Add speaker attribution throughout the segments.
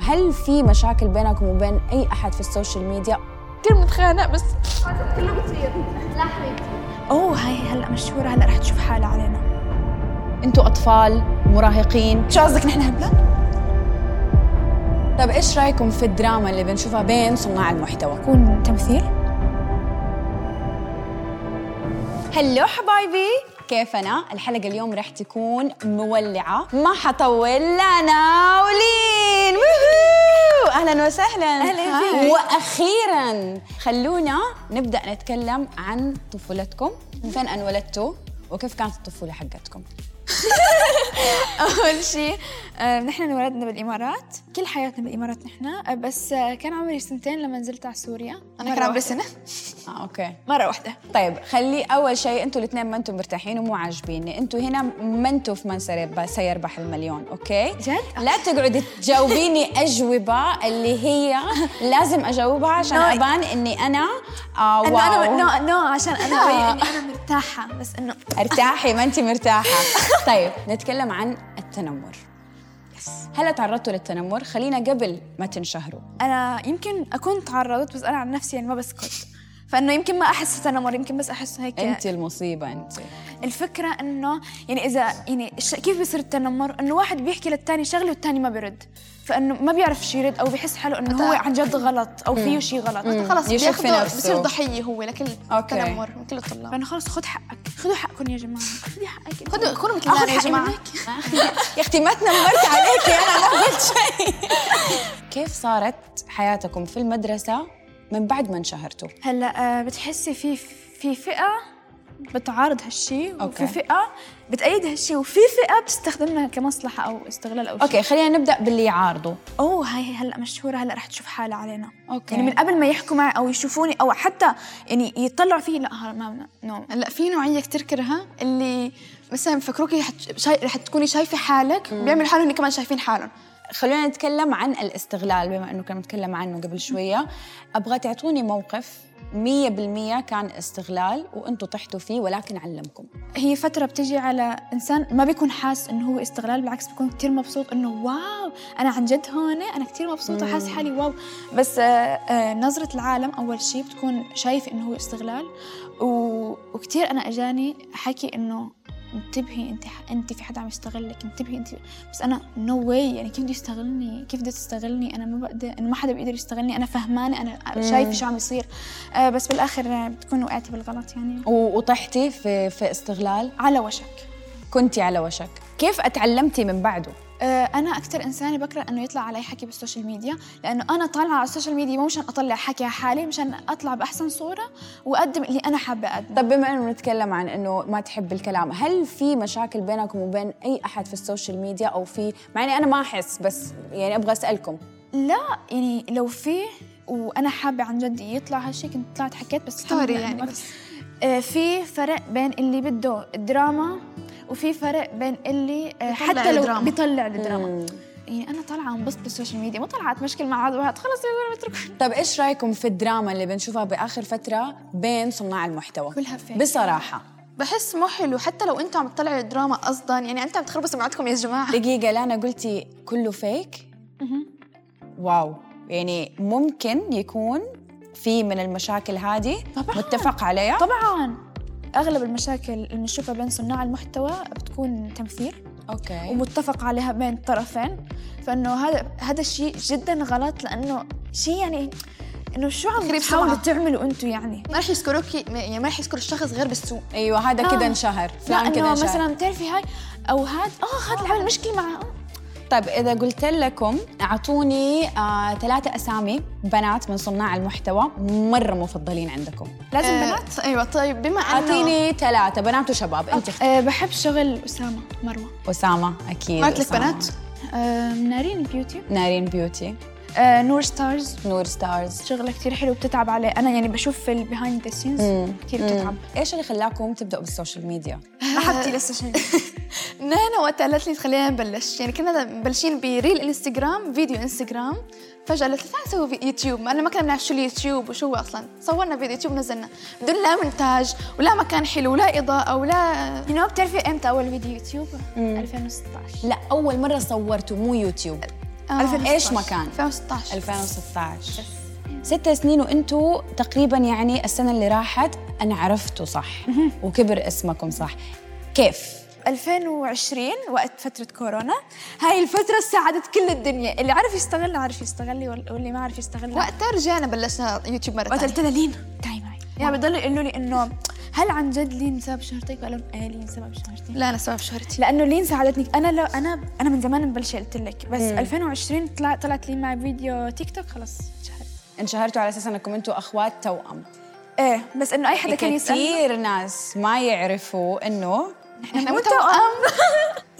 Speaker 1: هل في مشاكل بينكم وبين اي احد في السوشيال ميديا
Speaker 2: كثير متخانق بس
Speaker 3: كله بتصير لا حبيبتي
Speaker 2: اوه هاي هلا مشهوره هلا رح تشوف حالها علينا
Speaker 1: انتوا اطفال مراهقين
Speaker 2: شو قصدك نحن هبلان؟
Speaker 1: طب ايش رايكم طيب، في الدراما اللي بنشوفها بين صناع المحتوى
Speaker 2: كون تمثيل
Speaker 1: هلو حبايبي كيف انا الحلقه اليوم رح تكون مولعه ما حطول انا ولين ووهو! اهلا وسهلا
Speaker 2: أهلا فيك.
Speaker 1: هاي. واخيرا خلونا نبدا نتكلم عن طفولتكم من فين انولدتوا وكيف كانت الطفوله حقتكم
Speaker 2: اول شيء آه، نحن انولدنا بالامارات كل حياتنا بالامارات نحن آه، بس آه، كان عمري سنتين لما نزلت على سوريا انا كان
Speaker 1: مرة
Speaker 2: عمري سنه
Speaker 1: اه اوكي
Speaker 2: مره واحده
Speaker 1: طيب خلي اول شيء انتوا الاثنين ما انتم مرتاحين ومو عاجبيني انتوا هنا ما انتوا في من سيرب- سيربح المليون اوكي
Speaker 2: جد؟
Speaker 1: لا تقعدي تجاوبيني اجوبه اللي هي لازم اجاوبها عشان
Speaker 2: نو.
Speaker 1: ابان اني انا آه
Speaker 2: انه انا
Speaker 1: واو.
Speaker 2: نو نو عشان انا
Speaker 1: لا.
Speaker 2: أبين إني انا مرتاحه بس انه
Speaker 1: ارتاحي ما انت مرتاحه طيب نتكلم عن التنمر هلا تعرضتوا للتنمر خلينا قبل ما تنشهروا
Speaker 2: انا يمكن اكون تعرضت بس انا عن نفسي يعني ما بسكت فانه يمكن ما احس تنمر يمكن بس احس هيك
Speaker 1: انت المصيبه انت
Speaker 2: الفكره انه يعني اذا يعني الش- كيف بيصير التنمر انه واحد بيحكي للثاني شغله والثاني ما بيرد فانه ما بيعرف شو يرد او بيحس حاله انه هو عن جد غلط او فيه شيء غلط
Speaker 4: خلص
Speaker 1: يشك في
Speaker 4: بياخده
Speaker 1: نفسه.
Speaker 4: بصير ضحيه هو لكل
Speaker 1: أوكي.
Speaker 4: التنمر من كل الطلاب
Speaker 2: فانه خلص خذ حقك خذوا حقكم يا جماعه خذي حقك
Speaker 4: خذوا كونوا مثل
Speaker 2: آخذ
Speaker 4: النار يا
Speaker 2: حقي
Speaker 4: جماعه
Speaker 2: منك.
Speaker 1: يا اختي ما تنمرت عليكي انا ما قلت شيء كيف صارت حياتكم في المدرسه من بعد ما انشهرتوا
Speaker 2: هلا آه، بتحسي في في فئه بتعارض هالشيء
Speaker 1: أوكي.
Speaker 2: وفي فئه بتأيد هالشيء وفي فئه بتستخدمها كمصلحه او استغلال او شيء
Speaker 1: اوكي خلينا نبدا باللي يعارضوا
Speaker 2: اوه هاي هلا مشهوره هلا رح تشوف حالها علينا
Speaker 1: أوكي.
Speaker 2: يعني من قبل ما يحكوا معي او يشوفوني او حتى يعني يطلعوا فيي لا هلا ما نو
Speaker 4: هلا في نوعيه كثير كرهها اللي مثلا بفكروكي رح تش- شاي... رح تكوني شايفه حالك بيعملوا حالهم كمان شايفين حالهم
Speaker 1: خلونا نتكلم عن الاستغلال بما انه كنا نتكلم عنه قبل شويه ابغى تعطوني موقف 100% كان استغلال وانتم طحتوا فيه ولكن علمكم
Speaker 2: هي فترة بتجي على إنسان ما بيكون حاسس إنه هو استغلال بالعكس بيكون كتير مبسوط إنه واو أنا عن جد هون أنا كتير مبسوطة حاسة حالي واو بس آه، آه، نظرة العالم أول شيء بتكون شايفة إنه هو استغلال و... وكتير أنا أجاني حكي إنه انتبهي انت ح- انت في حدا عم يستغلك انتبهي انت بس انا نو واي يعني كيف بده يستغلني كيف بده تستغلني انا ما بقدر انا ما حدا بيقدر يستغلني انا فهمانه انا شايفه شو عم يصير آه بس بالاخر آه، بتكون وقعتي بالغلط يعني
Speaker 1: و- وطحتي في في استغلال
Speaker 2: على وشك
Speaker 1: كنتي على وشك كيف اتعلمتي من بعده
Speaker 2: آه، انا اكثر انسانه بكره انه يطلع علي حكي بالسوشيال ميديا لانه انا طالعه على السوشيال ميديا مو مشان اطلع حكي على حالي مشان اطلع باحسن صوره واقدم اللي انا حابه اقدمه
Speaker 1: طب بما انه نتكلم عن انه ما تحب الكلام هل في مشاكل بينكم وبين اي احد في السوشيال ميديا او في مع اني انا ما احس بس يعني ابغى اسالكم
Speaker 2: لا يعني لو في وانا حابه عن جد يطلع هالشيء كنت طلعت حكيت بس الحمد
Speaker 4: ستوري
Speaker 2: لله إنه
Speaker 4: يعني
Speaker 2: ما-
Speaker 4: بس.
Speaker 2: آه، في فرق بين اللي بده الدراما وفي فرق بين اللي آه،
Speaker 4: بيطلع
Speaker 2: حتى لو
Speaker 4: الدراما.
Speaker 2: بيطلع الدراما يعني انا طالعه انبسط بالسوشيال ميديا ما طلعت مشكل مع هذا وهذا خلص يقولوا اتركوني
Speaker 1: طب ايش رايكم في الدراما اللي بنشوفها باخر فتره بين صناع المحتوى
Speaker 2: كلها فيك.
Speaker 1: بصراحه
Speaker 4: بحس مو حلو حتى لو انتم عم تطلعوا الدراما قصدا يعني انت عم تخربوا سمعتكم يا جماعه
Speaker 1: دقيقه لانا قلتي كله فيك واو يعني ممكن يكون في من المشاكل هذه
Speaker 2: طبعاً.
Speaker 1: متفق عليها
Speaker 2: طبعا اغلب المشاكل اللي بنشوفها بين صناع المحتوى بتكون تمثيل
Speaker 1: اوكي
Speaker 2: ومتفق عليها بين الطرفين فانه هذا هذا الشيء جدا غلط لانه شيء يعني انه شو عم
Speaker 4: تخريب
Speaker 2: تحاولوا
Speaker 4: سمعة.
Speaker 2: تعملوا انتم يعني
Speaker 4: ما رح يذكروكي ما- يعني ما رح يذكروا الشخص غير بالسوق
Speaker 1: ايوه هذا كذا
Speaker 2: آه.
Speaker 1: انشهر
Speaker 2: لا
Speaker 1: فلان كذا
Speaker 2: انه
Speaker 1: انشهر
Speaker 2: مثلا بتعرفي هاي او هاد اه هاد اللي عمل مشكله معه آه.
Speaker 1: طيب إذا قلت لكم أعطوني آه، ثلاثة أسامي بنات من صناع المحتوى مرة مفضلين عندكم
Speaker 2: لازم
Speaker 4: آه،
Speaker 2: بنات
Speaker 4: ايوه طيب بما انه
Speaker 1: أعطيني ثلاثة بنات وشباب أنت اختي.
Speaker 2: أه بحب شغل اسامه مروه
Speaker 1: أسامة أكيد
Speaker 4: مرت لك
Speaker 1: أسامة.
Speaker 4: بنات
Speaker 2: أه نارين بيوتي
Speaker 1: نارين بيوتي
Speaker 2: أه نور ستارز
Speaker 1: نور ستارز
Speaker 2: شغله كثير حلو بتتعب عليه انا يعني بشوف البيهايند ذا سينز كثير بتتعب
Speaker 1: إيش اللي خلاكم تبدأوا بالسوشيال ميديا؟
Speaker 4: آه.
Speaker 2: رحبتي للسوشيال ميديا
Speaker 4: نانا وقت قالت لي خلينا نبلش يعني كنا مبلشين بريل انستغرام فيديو انستغرام فجاه قالت لي تعالي نسوي في- يوتيوب ما انا ما كنا بنعرف شو اليوتيوب وشو هو اصلا صورنا فيديو يوتيوب نزلنا بدون لا مونتاج ولا مكان حلو ولا اضاءه ولا
Speaker 2: يو نو بتعرفي امتى اول فيديو يوتيوب؟ 2016
Speaker 1: لا أول مرة صورتوا مو يوتيوب
Speaker 4: 2016.
Speaker 1: إيش مكان؟
Speaker 4: 2016
Speaker 1: 2016 ست سنين وانتوا تقريبا يعني السنه اللي راحت انا عرفته صح وكبر اسمكم صح كيف
Speaker 2: 2020 وقت فترة كورونا هاي الفترة ساعدت كل الدنيا اللي عرف يستغلها عرف يستغلي وال- واللي ما عرف يستغلها
Speaker 4: وقتها رجعنا بلشنا يوتيوب مرة
Speaker 2: وقت
Speaker 4: ثانية
Speaker 2: قلت لها لين تعي معي يعني بضلوا يقولوا لي انه هل عن جد لين سبب شهرتك؟ بقول لهم ايه لين سبب شهرتي
Speaker 4: لا أنا سبب شهرتي
Speaker 2: لانه لين ساعدتني انا لو انا انا من زمان مبلشه قلت لك بس 2020 طلع طلعت لي معي فيديو تيك توك خلاص شهر
Speaker 1: انشهرتوا على اساس انكم انتوا اخوات توام
Speaker 2: ايه بس انه اي حدا كان يسال
Speaker 1: كثير ناس ما يعرفوا انه
Speaker 4: احنا متوأم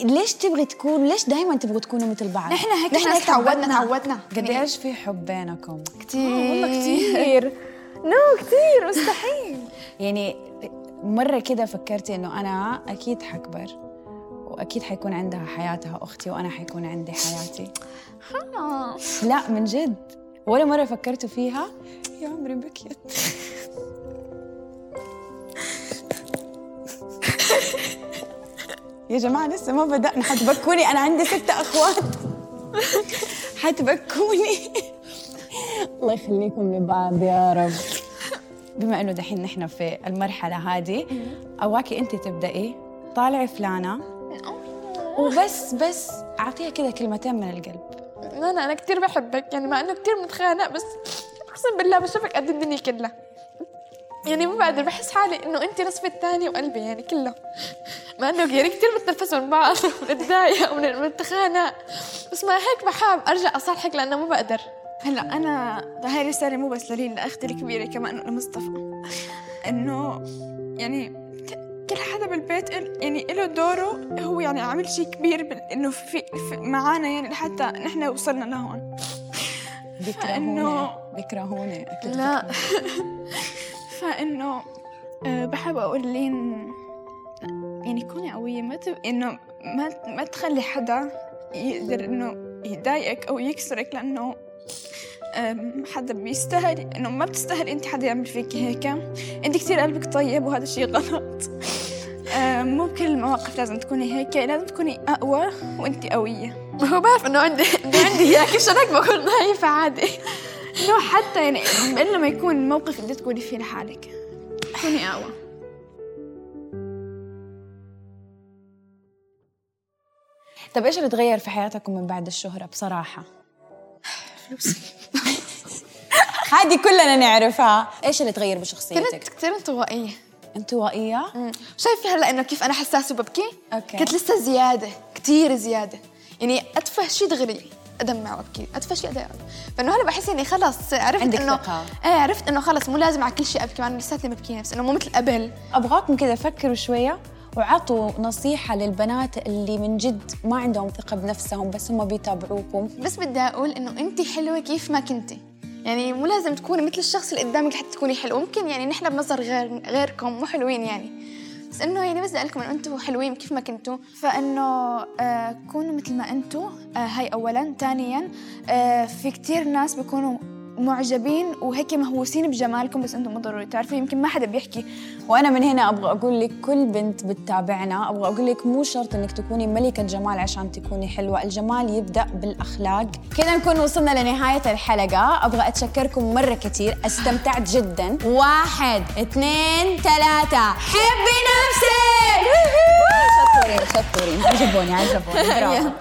Speaker 1: ليش تبغي تكون ليش دائما تبغوا تكونوا مثل بعض
Speaker 2: نحن هيك
Speaker 4: نحن
Speaker 2: ناس
Speaker 4: هيك تعودنا تعودنا
Speaker 1: قد ايش في حب بينكم
Speaker 4: كثير
Speaker 2: كثير نو كثير مستحيل
Speaker 1: يعني مرة كده فكرت إنه أنا أكيد حكبر وأكيد حيكون عندها حياتها أختي وأنا حيكون عندي حياتي لا من جد ولا مرة فكرتوا فيها يا عمري بكيت يا جماعة لسه ما بدأنا حتبكوني أنا عندي ستة أخوات حتبكوني الله يخليكم لبعض يا رب بما انه دحين نحن في المرحله هذه اواكي انت تبداي طالعي فلانه
Speaker 2: إيه.
Speaker 1: وبس بس اعطيها كذا كلمتين من القلب
Speaker 4: لا أنا أنا كثير بحبك يعني مع إنه كثير متخانق بس أقسم بالله بشوفك قد الدنيا كلها يعني ما بقدر بحس حالي إنه أنت نصف الثاني وقلبي يعني كله مع إنه يعني كثير بتنفس من بعض وبنتضايق وبنتخانق بس مع هيك بحاب أرجع أصالحك لأنه ما بقدر
Speaker 2: هلا انا هاي رساله مو بس للين لاختي الكبيره كمان لمصطفى انه يعني ك- كل حدا بالبيت ال- يعني له دوره هو يعني عامل شيء كبير بال- انه في, في معانا يعني لحتى نحن وصلنا لهون
Speaker 1: بيكرهوني
Speaker 2: إنه-
Speaker 1: بيكرهوني أكيد
Speaker 4: لا
Speaker 2: فانه آه، بحب اقول لين يعني كوني قويه ما تب... انه ما ما تخلي حدا يقدر انه يضايقك او يكسرك لانه آم، حدا بيستاهل انه ما بتستاهل انت حدا يعمل فيك هيك انت كثير قلبك طيب وهذا الشيء غلط آم، مو بكل المواقف لازم تكوني هيك لازم تكوني اقوى وانت قويه
Speaker 4: هو بعرف إنه عندي عندي إياك مشان هيك بكون ضعيفة عادي
Speaker 2: انه حتى يعني الا ما يكون الموقف اللي تكوني فيه لحالك كوني اقوى
Speaker 1: طب ايش طيب اللي تغير في حياتكم من بعد الشهره بصراحه هذه كلنا نعرفها ايش اللي تغير
Speaker 4: كنت
Speaker 1: بشخصيتك
Speaker 4: كثير انطوائية
Speaker 1: انطوائيه
Speaker 4: شايفة هلا انه كيف انا حساسة وببكي؟
Speaker 1: أوكي.
Speaker 4: كنت لسه زيادة كثير زيادة يعني اتفه شيء دغري ادمع وابكي، اتفه شيء ادمع فانه هلا بحس اني خلص عرفت
Speaker 1: عندك
Speaker 4: انه
Speaker 1: ثقة.
Speaker 4: ايه عرفت انه خلص مو لازم على كل شيء ابكي مع انه لساتني ببكي نفس انه مو مثل قبل
Speaker 1: ابغاكم كذا فكروا شويه وعطوا نصيحة للبنات اللي من جد ما عندهم ثقة بنفسهم بس هم بيتابعوكم
Speaker 4: بس بدي اقول انه انت حلوة كيف ما كنتي يعني مو لازم تكوني مثل الشخص اللي قدامك لحتى تكوني حلوة ممكن يعني نحن بنظر غير غيركم مو حلوين يعني بس انه يعني بس بدي اقول لكم انه انتم حلوين كيف ما كنتوا
Speaker 2: فانه آه، كونوا مثل ما انتم آه، هاي اولا ثانيا آه، في كتير ناس بيكونوا معجبين وهيك مهووسين بجمالكم بس انتم مو ضروري تعرفوا يمكن ما حدا بيحكي
Speaker 1: وانا من هنا ابغى اقول لك كل بنت بتتابعنا ابغى اقول لك مو شرط انك تكوني ملكه جمال عشان تكوني حلوه الجمال يبدا بالاخلاق كذا نكون وصلنا لنهايه الحلقه ابغى اتشكركم مره كثير استمتعت جدا واحد اثنين ثلاثه حبي نفسك شطورين شطورين عجبوني عجبوني برافو.